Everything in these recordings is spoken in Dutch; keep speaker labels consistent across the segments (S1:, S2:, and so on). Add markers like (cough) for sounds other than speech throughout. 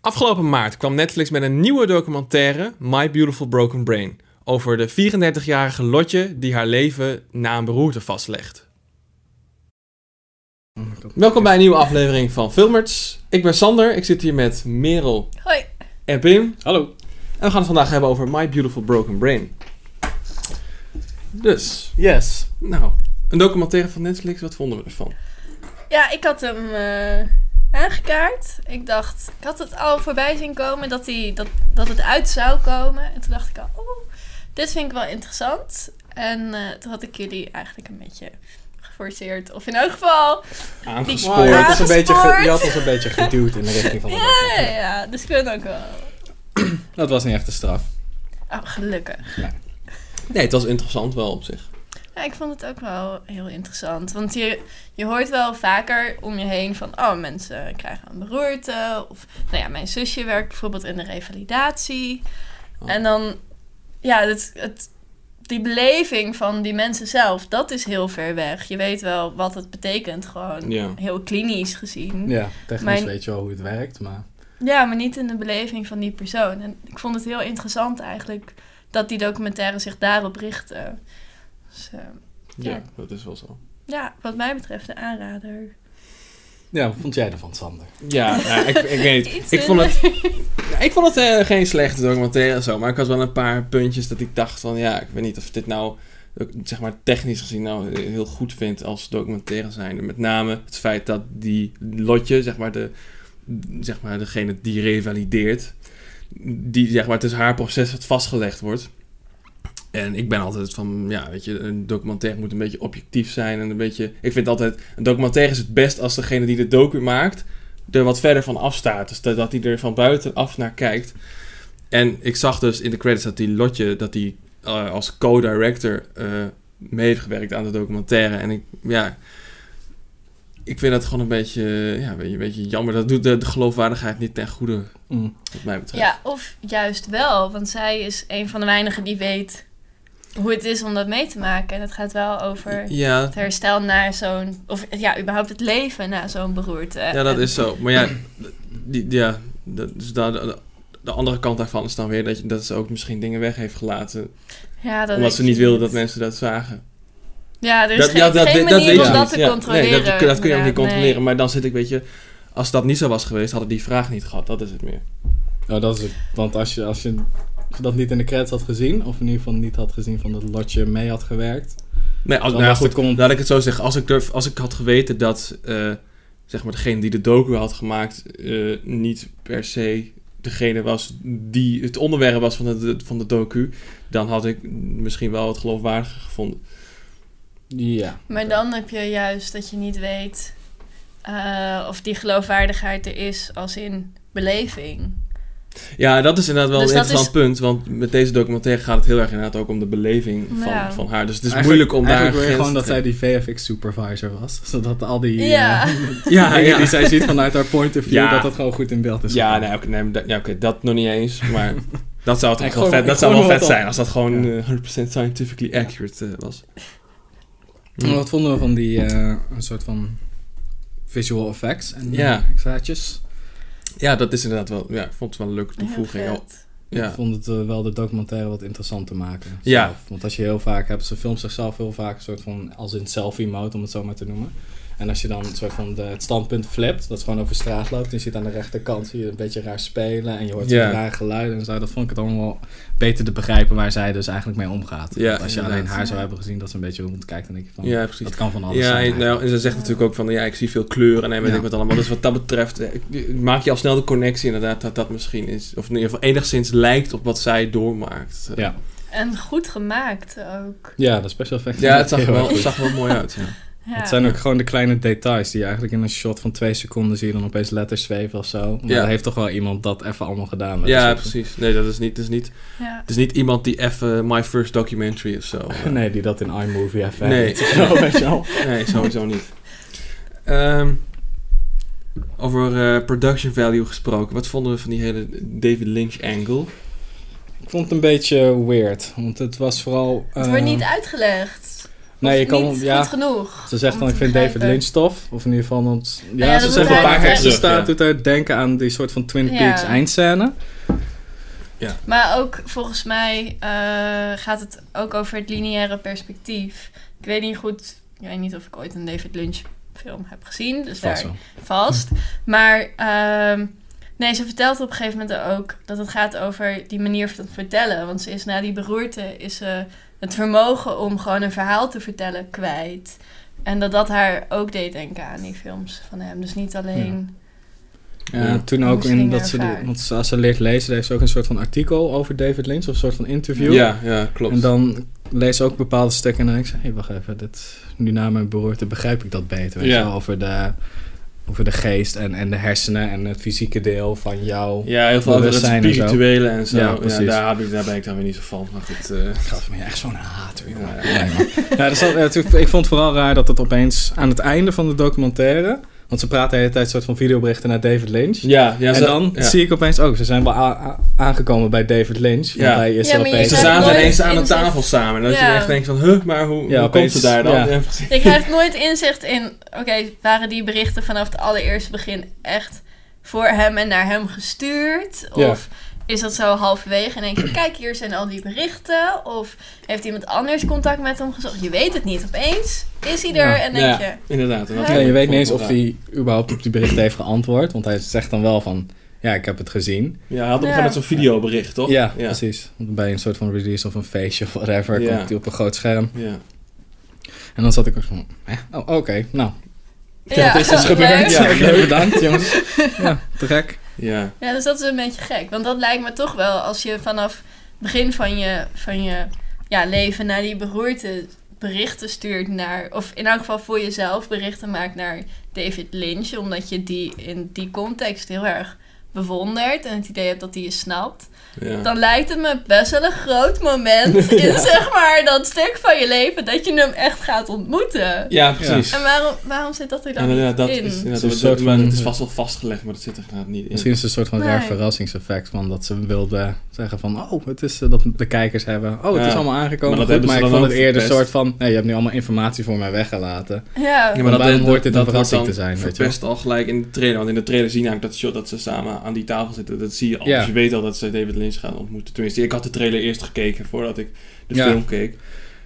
S1: Afgelopen maart kwam Netflix met een nieuwe documentaire, My Beautiful Broken Brain, over de 34-jarige Lotje die haar leven na een beroerte vastlegt. Welkom bij een nieuwe aflevering van Filmers. Ik ben Sander, ik zit hier met Merel
S2: Hoi.
S1: en Pim.
S3: Hallo.
S1: En we gaan het vandaag hebben over My Beautiful Broken Brain. Dus,
S3: Yes.
S1: nou, een documentaire van Netflix, wat vonden we ervan?
S2: Ja, ik had hem eh, aangekaart. Ik dacht, ik had het al voorbij zien komen dat, hij dat, dat het uit zou komen. En toen dacht ik al, oeh, dit vind ik wel interessant. En eh, toen had ik jullie eigenlijk een beetje geforceerd. Of in elk geval.
S1: Aangespoord.
S3: Wow, je, had ons
S2: Aangespoord.
S3: een beetje ge- je had ons een beetje geduwd in de richting
S1: Oh,
S2: (laughs)
S3: van de
S2: Ja, ja,
S3: documentaire.
S2: ja, dus ik ben ook wel.
S3: Dat was niet echt de straf.
S2: Oh, gelukkig.
S1: Nee, het was interessant wel op zich.
S2: Ja, ik vond het ook wel heel interessant. Want je, je hoort wel vaker om je heen van... oh, mensen krijgen een beroerte. Of, nou ja, mijn zusje werkt bijvoorbeeld in de revalidatie.
S1: Oh.
S2: En dan, ja, het, het, die beleving van die mensen zelf... dat is heel ver weg. Je weet wel wat het betekent, gewoon
S1: Ja.
S2: heel klinisch gezien.
S3: Ja, technisch
S2: Mijn-
S3: weet je wel hoe het werkt, maar...
S2: Ja, maar niet in de beleving van die persoon. En ik vond het heel interessant eigenlijk... dat die documentaire zich daarop richtte. Dus, eh,
S1: Ja,
S2: Ja.
S1: dat is wel zo.
S2: ja, wat mij betreft de aanrader...
S3: Ja, wat vond jij ervan, Sander?
S1: Ja, nou, ik, ik weet niet.
S2: Iets
S1: Ik vond het, nou, ik vond het eh, geen slechte documentaire en zo, maar ik had wel een paar puntjes dat ik dacht van ja, ik weet niet of dit nou, eh, zeg maar technisch gezien nou heel goed vind als documentaire zijnde. Met name het feit dat die Lotje, zeg maar, de, zeg maar degene die revalideert, die zeg maar, het is haar proces dat vastgelegd wordt. En ik ben altijd van, ja, weet je, een documentaire moet een beetje objectief zijn en een beetje... Ik vind altijd, een documentaire is het best als degene die de docu maakt er wat verder van afstaat. Dus dat, dat hij er van buitenaf naar kijkt. En ik zag dus in de credits dat die Lotje, dat die eh, als co-director eh, mee heeft gewerkt aan de documentaire. En ik, ja, ik vind dat gewoon een beetje, ja, een beetje, een beetje jammer. Dat doet de, de geloofwaardigheid niet ten goede,
S3: Mm.
S1: wat mij betreft.
S2: Ja, of juist wel, want zij is een van de weinigen die weet hoe het is om dat mee te maken. En het gaat wel over
S1: Ja,
S2: het herstel na zo'n, of ja, überhaupt het leven na zo'n beroerte.
S1: Ja, dat
S2: En-
S1: is zo. Maar ja, die, ja dat, dus daar, de, de andere kant daarvan is dan weer dat, je, dat ze ook misschien dingen weg heeft gelaten.
S2: Ja, dat
S1: omdat
S2: weet
S1: ze
S2: je
S1: niet wilden dat mensen dat zagen.
S2: Ja, er is
S1: Dat,
S2: geen,
S1: ja, dat,
S2: geen
S1: we-
S2: manier
S1: weet
S2: om
S1: je
S2: dat
S1: niet.
S2: te
S1: Ja,
S2: controleren.
S1: Nee, dat, dat kun je ook niet
S2: inderdaad, nee.
S1: controleren. Maar dan zit ik, weet je, als dat niet zo was geweest, hadden die vraag niet gehad. Dat is het meer.
S3: Nou, dat is het. Want als je, als, je, als je dat niet in de credits had gezien, of in ieder geval niet had gezien van dat Lotje mee had gewerkt...
S1: Nee, als,
S3: Dan
S1: nou ja,
S3: was de
S1: goed,
S3: con-
S1: laat ik het zo zeggen. Als ik, durf, als ik had geweten dat, eh, zeg maar, degene die de docu had gemaakt, eh, niet per se degene was die het onderwerp was van de, van de docu, dan had ik misschien wel het geloofwaardiger gevonden.
S3: Ja.
S2: Maar dan heb je juist dat je niet weet eh, of die geloofwaardigheid er is als in beleving.
S1: Ja, dat is inderdaad wel
S2: Dus
S1: een
S2: dat
S1: interessant punt, want met deze documentaire gaat het heel erg inderdaad ook om de beleving van,
S2: Ja.
S1: van haar. Dus het is
S3: Eigenlijk-
S1: moeilijk om daar...
S3: Eigenlijk wil je
S1: grens
S3: gewoon dat
S1: te
S3: zij
S1: trekken.
S3: die VFX-supervisor was. (laughs) Zodat al die
S2: Ja.
S3: eh,
S1: (laughs) Ja,
S3: dingen
S1: ja.
S3: die zij ziet vanuit haar point of view,
S1: Ja.
S3: dat dat gewoon goed in beeld is.
S1: Ja,
S3: gekomen.
S1: nee, oké, nee, maar dat, ja, oké, dat nog niet eens. (laughs) Maar dat zou
S3: Ik
S1: toch wel
S3: gooi-
S1: vet,
S3: ik
S1: dat zou
S3: gooi
S1: wel
S3: me
S1: vet
S3: wat
S1: zijn
S3: op.
S1: als dat gewoon
S3: Ja.
S1: eh, 100% scientifically accurate eh, was.
S3: En Wat vonden we van die eh, een soort van visual effects en eh,
S1: Ja.
S3: extraatjes?
S1: Ja, dat is inderdaad wel. Ja, ik vond het wel een leuke
S2: Heel
S1: toevoeging. al-
S2: vet.
S3: Ik
S1: Ja.
S3: vond het eh, wel de documentaire wat interessant te maken.
S1: Ja.
S3: zelf. Want als je heel vaak hebt, ze filmt zichzelf heel vaak een soort van als in selfie mode, om het zo maar te noemen. En als je dan een soort van de, het standpunt flipt, dat is gewoon over straat loopt. En je ziet aan de rechterkant zie je een beetje raar spelen en je hoort
S1: Ja.
S3: zo'n raar geluiden en zo. Dat vond ik het allemaal beter te begrijpen waar zij dus eigenlijk mee omgaat.
S1: Ja,
S3: Want als je alleen
S1: inderdaad.
S3: haar zou hebben gezien, dat ze een beetje rondkijkt, dan denk je van,
S1: ja, precies.
S3: dat kan van alles
S1: Ja,
S3: zijn.
S1: en, nou, en ze zegt natuurlijk ook van ja, ik zie veel kleuren en weet
S3: Ja.
S1: ik wat allemaal. Dus wat dat betreft eh, ik- maak je al snel de connectie inderdaad dat dat misschien is. Of in ieder geval enigszins lijkt op wat zij doormaakt. Eh,
S3: Ja.
S2: (laughs) En goed gemaakt ook.
S3: Ja, de special effects.
S1: Ja, het zag er
S3: Heel
S1: wel,
S3: erg goed.
S1: het zag er wel mooi uit. Ja.
S2: Ja.
S3: Het zijn ook gewoon de kleine details die je eigenlijk in een shot van twee seconden zie je dan opeens letters zweven of zo. Maar
S1: Ja.
S3: daar heeft toch wel iemand dat even allemaal gedaan. weet
S1: Ja,
S3: je.
S1: precies. Nee, dat is niet, dat is niet,
S2: ja.
S1: het is niet iemand die even eh, My First Documentary (laughs) of zo. eh,
S3: (laughs) Nee, die dat in iMovie even
S1: Nee.
S3: heeft. Zo, (laughs) weet je wel.
S1: Nee, sowieso niet. Ehm, over eh, production value gesproken. Wat vonden we van die hele David Lynch angle?
S3: Ik vond het een beetje weird, want het was vooral...
S2: Het
S3: eh,
S2: wordt niet uitgelegd.
S3: Nee, je kan,
S2: niet
S3: ja,
S2: goed genoeg.
S3: ze zegt
S2: om
S3: dan, ik
S2: te
S3: vind David
S2: begrijpen. Nou
S3: Lynch tof. Of in ieder geval, want... Ja,
S2: ja, dat
S3: ze
S2: doet
S3: zegt een
S2: hij
S3: paar keer
S2: eigenlijk.
S3: terug, staat,
S1: Ja.
S3: doet haar denken aan die soort van Twin
S2: Ja.
S3: Peaks eindscène.
S2: Maar ook volgens mij eh, gaat het ook over het lineaire perspectief. Ik weet niet goed, ik weet niet of ik ooit een David Lynch film heb gezien, dus
S3: Vast
S2: daar
S3: wel.
S2: vast. Maar ehm, nee, ze vertelt op een gegeven moment ook dat het gaat over die manier van vertellen. Want ze is na die beroerte is ze het vermogen om gewoon een verhaal te vertellen kwijt. En dat dat haar ook deed denken aan die films van hem. Dus niet alleen.
S3: Ja,
S1: Ja.
S3: toen ook in
S2: Misschien
S3: dat ze,
S2: ervaar.
S3: want als ze leert lezen, leest ze ook een soort van artikel over David Lynch, of een soort van interview.
S1: Ja, ja, klopt.
S3: En dan lees ze ook bepaalde stukken en dan denk ik, hé, hey, wacht even, dit, nu na mijn beroerte begrijp ik dat beter. Weet
S1: Ja.
S3: je wel, over de, over de geest en, en de hersenen en het fysieke deel van jou.
S1: Ja, heel veel over het
S3: Bewustzijn en zo.
S1: spirituele en zo.
S3: Ja,
S1: Ja,
S3: precies.
S1: daar, heb ik, daar ben ik dan weer niet zo van. Maar goed, eh,
S3: Ik gaf me echt zo'n hater, jongen.
S1: Ja.
S3: Nee, man. Ja, dus dat- ja, toen- ik vond het vooral raar dat het opeens aan het einde van de documentaire, want ze praten de hele tijd soort van videoberichten naar David Lynch.
S1: ja, ja,
S3: en
S1: ze-
S3: dan
S1: ja.
S3: zie ik opeens ook, ze zijn wel a- a- aangekomen bij David Lynch. Ja.
S1: Ja.
S3: Want hij is
S2: Ja,
S3: er
S2: maar je
S3: opeens.
S1: Ze
S2: Ja,
S1: zaten
S2: nooit
S1: ineens aan de
S2: inzicht.
S1: tafel samen. Dat je
S2: Ja.
S1: echt denkt van, huh, maar hoe,
S3: Ja,
S1: hoe komt ze
S3: opeens,
S1: daar dan?
S3: ja.
S1: Ja, precies.
S2: Je krijgt nooit inzicht in. Oké, waren die berichten vanaf het allereerste begin echt voor hem en naar hem gestuurd?
S3: Ja.
S2: Of is dat zo halverwege en denk je, kijk, hier zijn al die berichten? Of heeft iemand anders contact met hem gezocht? Je weet het niet. Opeens is hij er
S3: Ja.
S2: en denk
S1: Ja.
S2: je.
S1: Inderdaad. en dat
S2: Ja,
S3: Ja,
S1: vond
S3: je
S1: ik-
S3: weet
S1: vond
S3: niet
S1: ik
S3: eens
S1: wel
S3: of
S1: raar.
S3: hij überhaupt op die berichten heeft geantwoord. Want hij zegt dan wel van, ja, ik heb het gezien.
S1: Ja, hij had op een
S2: Ja.
S1: gegeven moment zo'n videobericht, toch?
S3: Ja,
S1: ja.
S3: precies. Want Bij een soort van release of een feestje of whatever
S1: Ja.
S3: komt hij op een groot scherm.
S1: Ja.
S3: En dan zat ik ook van, hè? oh, oké, nou.
S2: Ja,
S3: dat
S2: (laughs)
S3: is dus
S2: leuk.
S3: gebeurd.
S1: Ja,
S3: Ja,
S1: (laughs) leuk. (laughs)
S3: bedankt jongens. Ja, te gek.
S1: Ja.
S2: Ja, dus dat is een beetje gek. Want dat lijkt me toch wel, als je vanaf het begin van je, van je ja, leven naar die beroerte berichten stuurt naar, of in elk geval voor jezelf berichten maakt naar David Lynch, omdat je die in die context heel erg bewondert en het idee hebt dat hij je snapt,
S1: ja.
S2: dan lijkt het me best wel een groot
S1: (laughs)
S2: moment in zeg maar dat stuk van je leven dat je hem echt gaat ontmoeten.
S1: Ja, precies.
S2: En waarom, waarom zit dat
S1: En
S2: er dan
S1: inderdaad, dat
S2: niet in?
S1: is, inderdaad,
S3: Het is een
S1: dat-
S3: soort
S1: maar
S3: van-
S1: het is vast wel vastgelegd, maar dat zit er inderdaad niet in.
S3: Misschien is het een soort van raar
S2: Nee.
S3: verrassingseffect van dat ze wilde zeggen van, oh, het is eh, dat de kijkers hebben. Oh, het
S1: Ja.
S3: is allemaal aangekomen.
S1: Maar dat
S3: Maar,
S1: hebben
S3: maar
S1: ze
S3: ik
S1: dan
S3: vond het
S1: ook
S3: eerder een soort
S1: verpest.
S3: van, nee, je hebt nu allemaal informatie voor mij weggelaten.
S2: Ja.
S1: Ja,
S3: Want waarom hoort dit een
S1: dat wordt
S3: verrassing
S1: dan
S3: te zijn, weet je wel?
S1: verpest al gelijk in de trailer. Want in de trailer zie je namelijk dat shot dat ze samen aan die tafel zitten. Dat zie je al.
S3: Ja.
S1: Dus je weet al dat ze David Lynch gaan ontmoeten. Tenminste, ik had de trailer eerst gekeken voordat ik de
S3: Ja.
S1: film keek.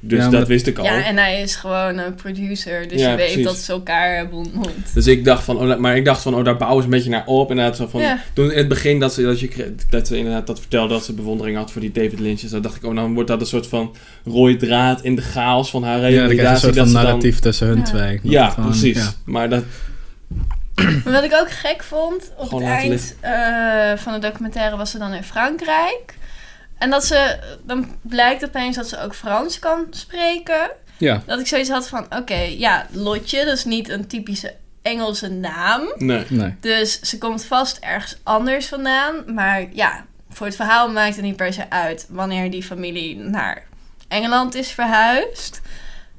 S1: Dus
S3: Ja, maar
S1: dat
S3: dat-
S1: wist ik al.
S2: Ja, en hij is gewoon een producer, dus
S1: Ja,
S2: je weet
S1: precies.
S2: dat ze elkaar eh, hebben ontmoet.
S1: Dus ik dacht van, oh, la- maar ik dacht van, oh, daar bouwen ze een beetje naar op. Inderdaad, zo van,
S2: Ja.
S1: toen in het begin dat ze, dat, je, kre- dat ze inderdaad dat vertelde, dat ze bewondering had voor die David Lynch. En zo dacht ik, oh, dan wordt dat een soort van rode draad in de chaos van haar
S3: Ja, dan
S1: realisatie.
S3: krijg je een soort
S1: dat
S3: van
S1: ze dan-
S3: narratief tussen hun
S2: Ja.
S3: twee. Dat
S1: Ja,
S3: het gewoon-
S1: precies.
S3: ja.
S1: Maar dat,
S2: (laughs) Maar wat ik ook gek vond, op
S1: Gewoon
S2: het
S1: laten
S2: eind eh, van de documentaire was ze dan in Frankrijk. En dat ze, dan blijkt opeens dat ze ook Frans kan spreken.
S3: Ja,
S2: Dat ik zoiets had van, oké, ja, Lotje, dat is niet een typische Engelse naam.
S1: nee.
S3: nee.
S2: Dus ze komt vast ergens anders vandaan. Maar ja, voor het verhaal maakt het niet per se uit wanneer die familie naar Engeland is verhuisd.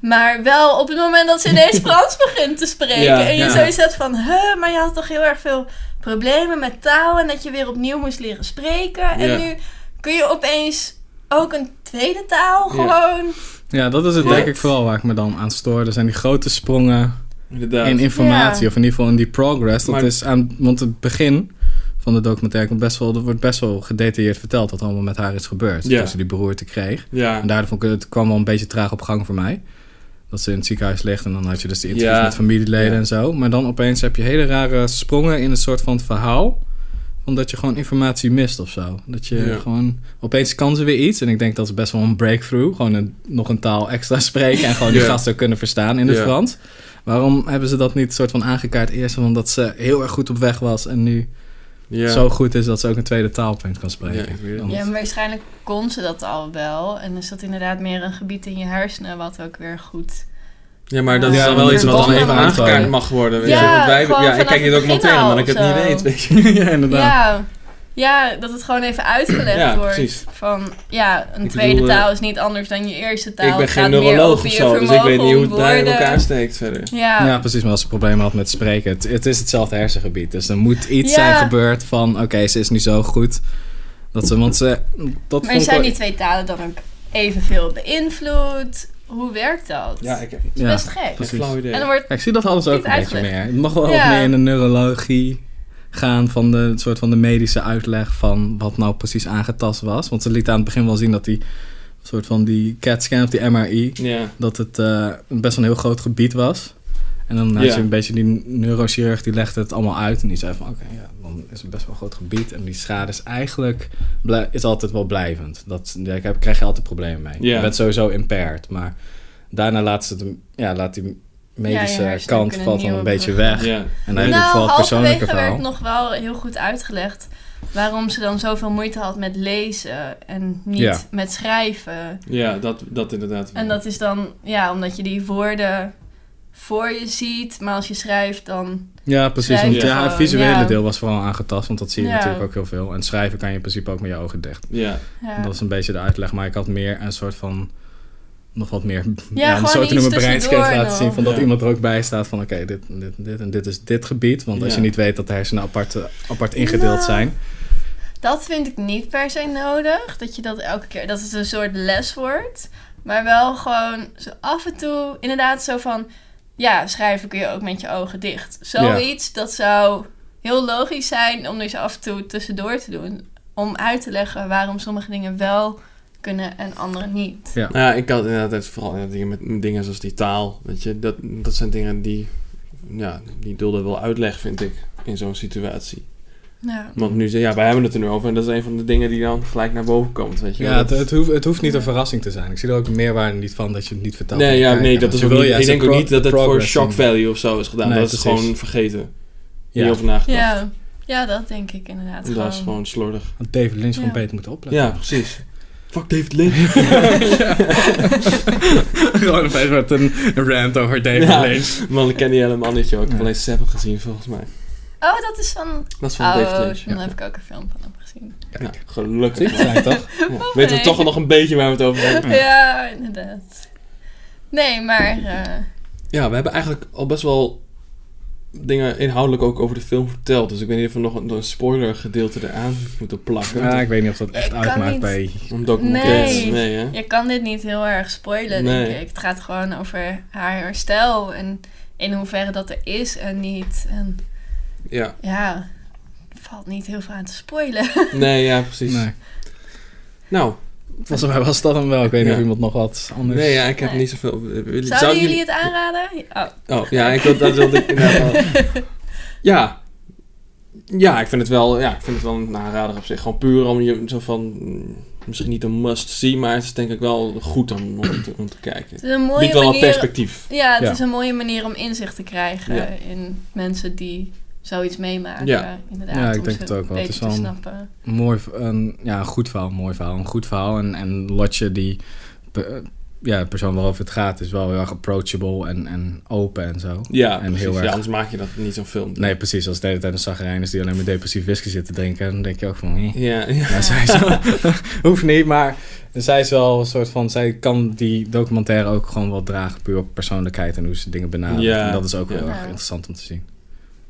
S2: Maar wel op het moment dat ze
S1: (laughs)
S2: ineens Frans begint te spreken.
S1: Ja,
S2: en je
S1: ja.
S2: zoiets hebt van, huh, maar je had toch heel erg veel problemen met taal. En dat je weer opnieuw moest leren spreken.
S1: Ja.
S2: En nu kun je opeens ook een tweede taal
S1: Ja.
S2: gewoon.
S3: Ja, dat is het denk ik vooral waar ik me dan aan stoorde. zijn die grote sprongen
S1: Inderdaad.
S3: in informatie,
S2: Ja.
S3: of in ieder geval in die progress. Dat
S1: Maar-
S3: is aan, want het begin van de documentaire komt best wel, er wordt best wel gedetailleerd verteld wat er allemaal met haar is gebeurd.
S1: Ja.
S3: Toen ze die beroerte kreeg.
S1: ja.
S3: En daardoor vond ik, het kwam wel een beetje traag op gang voor mij. Dat ze in het ziekenhuis ligt en dan had je dus de interviews
S1: Ja.
S3: met familieleden
S1: Ja.
S3: en zo. Maar dan opeens heb je hele rare sprongen in een soort van verhaal. Omdat je gewoon informatie mist of zo. Dat je
S1: Ja.
S3: gewoon... Opeens kan ze weer iets. En ik denk dat is best wel een breakthrough. Gewoon een, nog een taal extra (laughs) spreken. En gewoon die
S1: Ja.
S3: gasten kunnen verstaan in het
S1: Ja.
S3: Frans. Waarom hebben ze dat niet soort van aangekaart eerst? Omdat ze heel erg goed op weg was. En nu
S1: ja.
S3: zo goed is dat ze ook een tweede taal opeens
S1: Ja,
S3: kan
S1: ik
S3: spreken.
S1: weet het.
S3: Want- (laughs)
S2: Ja, maar waarschijnlijk kon ze dat al wel. En is dat inderdaad meer een gebied in je hersenen wat ook weer goed
S1: Ja, maar dat is
S3: Ja,
S1: dan wel
S3: want
S1: iets
S3: je
S1: wat dan
S3: bent
S1: even
S3: wel
S1: aangekaart
S3: aangekomen.
S1: mag worden. weet je.
S2: Ja,
S1: Want wij-
S2: gewoon
S1: ja, ik
S2: vanaf
S1: kijk die
S2: het begin
S1: documentaire
S2: al
S1: omdat ik het
S2: of
S1: niet
S2: zo.
S1: weet. Weet je.
S3: ja, inderdaad.
S2: Ja. ja, dat het gewoon even uitgelegd
S1: Ja,
S2: wordt.
S1: precies.
S2: Van ja, een
S1: Ik
S2: tweede
S1: bedoel, eh,
S2: taal is niet anders dan je eerste taal.
S1: Ik ben
S2: Het
S1: geen
S2: gaat meer
S1: neuroloog
S2: over
S1: of
S2: je
S1: zo, dus ik
S2: vermogen
S1: weet niet hoe het
S2: om
S1: daar in
S2: woorden.
S1: elkaar steekt verder.
S2: Ja,
S3: Ja, precies. Maar als ze problemen had met spreken, het, het is hetzelfde hersengebied. Dus er moet iets
S2: Ja.
S3: zijn gebeurd van, oké, ze is nu zo goed. Dat ze, want ze, dat
S2: maar
S3: vond ik
S2: zijn
S3: wel-
S2: die twee talen dan ook evenveel beïnvloed? hoe werkt dat?
S1: Ja, ik heb
S2: dat is best gek.
S1: geen
S3: precies.
S1: flauw idee.
S2: En dan wordt...
S3: Ja, ik zie dat alles ook
S2: Niet
S3: een beetje
S2: uitgelegd.
S3: meer. Het mag wel
S2: Ja.
S3: wat meer in de neurologie gaan van de het soort van de medische uitleg van wat nou precies aangetast was. Want ze liet aan het begin wel zien dat die soort van die CAT-scan of die MRI,
S1: Ja,
S3: dat het eh, best wel een heel groot gebied was. En dan had
S1: Ja.
S3: je een beetje die neurochirurg die legde het allemaal uit en die zei van oké, ja, dan is het best wel een groot gebied en die schade is eigenlijk blij- is altijd wel blijvend. Dat daar heb- krijg je altijd problemen mee.
S1: Ja.
S3: Je bent sowieso impaired, maar daarna laat ze het ja, laat die medische
S2: Ja, je hersenen
S3: kant
S2: kunnen eh,
S3: valt dan een
S2: nieuwe
S3: beetje
S2: bruggen.
S1: ja.
S3: weg. En dan heb je
S2: Nou,
S3: vooral het persoonlijke
S2: halverwege
S3: verhaal.
S2: werd nog wel heel goed uitgelegd waarom ze dan zoveel moeite had met lezen en niet
S3: Ja.
S2: met schrijven.
S1: ja dat, dat inderdaad.
S2: En dat is dan, ja, omdat je die woorden voor je ziet, maar als je schrijft dan...
S3: Ja, precies.
S2: Schrijven
S3: Want ja,
S2: gewoon,
S3: het visuele
S2: ja.
S3: deel was vooral aangetast, want dat zie je
S2: Ja.
S3: natuurlijk ook heel veel. En schrijven kan je in principe ook met je ogen dicht.
S1: Ja,
S2: Ja.
S3: Dat was een beetje de uitleg, maar ik had meer een soort van nog wat meer om
S2: gewoon
S3: het zo te
S2: iets
S3: noemen breinscan
S2: tussendoor
S3: laten zien
S2: nog.
S3: van dat
S1: Ja.
S3: iemand er ook bij staat van oké dit, dit, dit en dit is dit gebied want als
S1: Ja.
S3: je niet weet dat de hersenen apart, eh, apart ingedeeld
S2: Ja.
S3: zijn
S2: Dat vind ik niet per se nodig. Dat je dat elke keer, dat het een soort les wordt. Maar wel gewoon zo af en toe, inderdaad, zo van. Ja, schrijven kun je ook met je ogen dicht. Zoiets, dat zou heel logisch zijn om dus af en toe tussendoor te doen. Om uit te leggen waarom sommige dingen wel kunnen en andere niet.
S3: ja.
S1: Nou ja, ik had inderdaad het vooral ja, dingen met met dingen zoals die taal. Weet je, dat, dat zijn dingen die, ja, die dulden wel uitleg, vind ik, in zo'n situatie.
S2: Ja.
S1: Want nu, ze- ja, wij hebben het er nu over en dat is een van de dingen die dan gelijk naar boven komt, weet je
S3: Ja,
S1: wel.
S3: het, het, hoeft, het hoeft niet een verrassing te zijn. Ik zie er ook een meerwaarde niet van dat je het niet vertelt.
S1: Nee,
S3: aan
S1: ja,
S3: elkaar.
S1: nee,
S3: Want
S1: dat is
S3: je
S1: ook
S3: wil
S1: niet, ik
S3: juist
S1: denk
S3: een
S1: ook niet dat het voor
S3: progress
S1: shock
S3: zien.
S1: value of zo is gedaan.
S3: Nee,
S1: dat is
S3: precies.
S1: gewoon vergeten.
S3: Ja.
S1: Hierover nagedacht.
S2: Ja, ja, dat denk ik inderdaad.
S1: Dat is gewoon slordig.
S3: Want David Lynch gewoon
S2: Ja.
S3: beter moet opletten.
S1: Ja, precies. Fuck David Lynch.
S3: (laughs) gewoon opeens met een rant (laughs) over David
S1: Ja.
S3: Lynch.
S1: Man, ik ken die helemaal niet, joh. Ik heb
S3: Ja.
S1: alleen Seven gezien, volgens mij.
S2: Oh, dat is van.
S1: Dat is van David
S2: Oh,
S1: Lynch.
S2: dan
S3: ja.
S2: heb ik ook een film van hem gezien.
S1: Nou,
S3: Zie
S1: gelukkig.
S3: je, zijn toch?
S1: Ja. Weten we toch wel nog een beetje waar we het over hebben.
S2: Ja, inderdaad. Nee, maar. eh,
S1: Ja, we hebben eigenlijk al best wel dingen inhoudelijk ook over de film verteld. Dus ik weet niet of we nog een, nog een spoiler gedeelte eraan moeten plakken.
S3: Ja, ik weet niet of dat echt
S2: Ik kan
S3: uitmaakt
S2: niet.
S3: bij...
S1: Om documentaires.
S2: Nee.
S1: nee hè?
S2: Je kan dit niet heel erg spoilen,
S1: Nee.
S2: denk ik. Het gaat gewoon over haar herstel en in hoeverre dat er is en niet. En
S1: Ja.
S2: ja, er valt niet heel veel aan te spoilen.
S1: Nee, ja, precies.
S3: Nee.
S1: Nou,
S3: Volgens mij was dat hem wel. Ik weet niet
S1: Ja.
S3: of iemand nog wat anders...
S1: nee, ja, ik heb
S2: Nee.
S1: niet zoveel... eh, wil-
S2: Zouden jullie het aanraden? Oh,
S1: Oh, ja, ik wil, dat
S2: (laughs)
S1: wilde ik inderdaad wel. Ja. Ja, ik vind het wel, ja, ik vind het wel een aanrader op zich. Gewoon puur om je zo van... mm, Misschien niet een must-see, maar het is denk ik wel goed om, om, te, om te kijken.
S2: het is een
S1: Biedt
S2: mooie
S1: wel wat
S2: manier.
S1: perspectief.
S2: Ja, het
S3: Ja.
S2: is een mooie manier om inzicht te krijgen
S1: Ja.
S2: in mensen die zoiets meemaken.
S1: Ja.
S2: inderdaad.
S3: Ja, ik
S2: om
S3: denk
S2: ze
S3: het ook wel. Het
S2: beter
S3: is
S2: te
S3: wel een-
S2: snappen.
S3: Een Mooi, v- een, ja, een goed verhaal, een mooi verhaal. Een goed verhaal. En, en Lotje, die pe- eh, ja, de persoon waarover het gaat, is wel heel erg approachable en, en open en zo.
S1: Ja,
S3: En
S1: precies.
S3: heel erg-
S1: ja, anders maak je dat niet zo'n film.
S3: Nee, precies. Als de hele tijd een zagrijn is die alleen maar depressief whisky zit te drinken, dan denk je ook van... eh.
S1: Ja, ja.
S3: Ja, zij is wel- (laughs) hoeft niet, maar zij is wel een soort van... Zij kan die documentaire ook gewoon wel dragen, puur op persoonlijkheid en hoe ze dingen benadert.
S1: Ja,
S3: En dat is ook
S1: ja.
S3: heel erg
S2: Ja.
S3: interessant om te zien.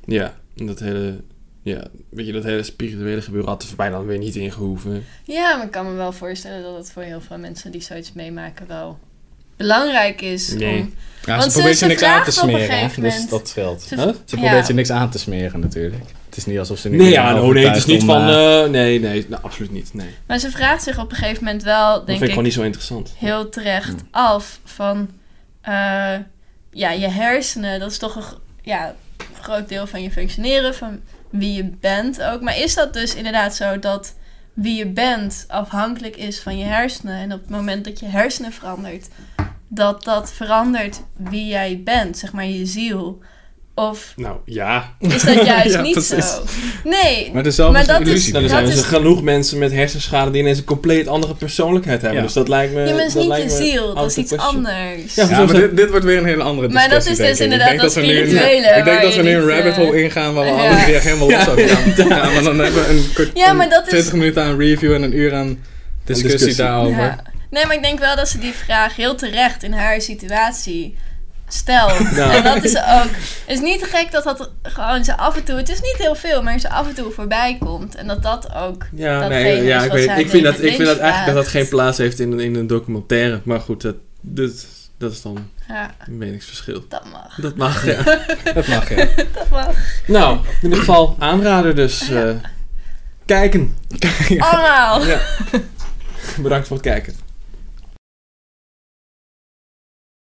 S1: Ja, en dat hele, ja, weet je, dat hele spirituele gebeuren had er voor mij dan weer niet ingehoeven.
S2: Ja, maar ik kan me wel voorstellen dat het voor heel veel mensen die zoiets meemaken wel belangrijk is.
S1: Nee.
S2: Om,
S3: Ja,
S2: Want
S3: ze
S2: ze-
S3: probeert
S2: ze
S3: je niks aan te
S2: vraagt op een
S3: smeren, hè,
S2: gegeven
S3: dus
S2: moment.
S3: dat scheelt.
S2: ze-
S1: Huh?
S3: Ze probeert
S2: Ja.
S3: je niks aan te smeren natuurlijk. Het is niet alsof ze nu...
S1: Nee, ja, oh nee, het is
S3: overtuigt
S1: niet
S3: om,
S1: van,
S3: eh,
S1: eh, nee, nee, nou, absoluut niet, nee.
S2: Maar ze vraagt zich op een gegeven moment wel,
S1: Dat vind
S2: denk
S1: ik
S2: ik,
S1: gewoon niet zo interessant.
S2: heel terecht
S1: Mm.
S2: af van... eh, ja, je hersenen, dat is toch een gro- ja, groot deel van je functioneren, van wie je bent ook. Maar is dat dus inderdaad zo dat wie je bent afhankelijk is van je hersenen? En op het moment dat je hersenen verandert, dat dat verandert wie jij bent, zeg maar je ziel? Of
S1: Nou, ja.
S2: is
S1: (laughs)
S2: dat juist
S3: Ja,
S2: niet
S3: precies.
S2: zo? Nee,
S3: Maar dezelfde
S2: Maar dat is-
S3: illusie.
S1: Nou, er
S2: Dat
S1: zijn dus
S2: is-
S1: genoeg mensen met hersenschade die ineens een compleet andere persoonlijkheid hebben.
S3: Ja.
S1: Dus dat lijkt me...
S2: je bent
S1: dat
S2: niet
S1: lijkt
S2: je
S1: me
S2: ziel,
S1: out
S2: dat
S1: of
S2: is
S1: the
S2: iets
S1: question.
S2: anders.
S1: Ja,
S2: Ja,
S1: maar
S3: Ja, maar dit, dit wordt weer een hele andere
S2: Maar
S3: discussie,
S2: dat is dus
S3: denk ik.
S2: inderdaad
S3: ik denk
S2: dat
S3: dat, we nu,
S2: spirituele
S3: Ik denk
S2: waar
S3: dat
S2: je
S3: we nu een
S2: niet,
S3: rabbit
S2: eh,
S3: hole ingaan waar we
S2: (laughs) ja.
S3: alle drie echt helemaal los over gaan. Ja, maar dan hebben we een kort
S2: Ja, maar
S3: een
S2: dat is-
S3: 20 minuten aan review en een uur aan discussie,
S1: discussie.
S3: daarover. Ja.
S2: Nee, maar ik denk wel dat ze die vraag heel terecht in haar situatie stelt.
S1: Nou.
S2: En dat is ook... Het is niet te gek dat dat gewoon ze af en toe... Het is niet heel veel, maar ze af en toe voorbij komt. En dat dat ook...
S1: Ja,
S2: datgene
S1: nee, ja,
S2: is
S1: ik,
S2: wat
S1: weet,
S2: zij
S1: ik vind dat,
S2: David
S1: ik vind dat
S2: Lynch
S1: eigenlijk dat dat
S2: vraagt.
S1: geen plaats heeft in, een- in een documentaire. Maar goed, dat, dat, Dat is dan
S2: Ja,
S1: een meningsverschil.
S2: dat mag.
S1: Dat mag, ja.
S3: Dat mag, ja.
S2: Dat mag.
S1: nou, in ieder geval aanrader dus. eh, kijken. (laughs)
S2: Allemaal.
S1: Bedankt voor het kijken.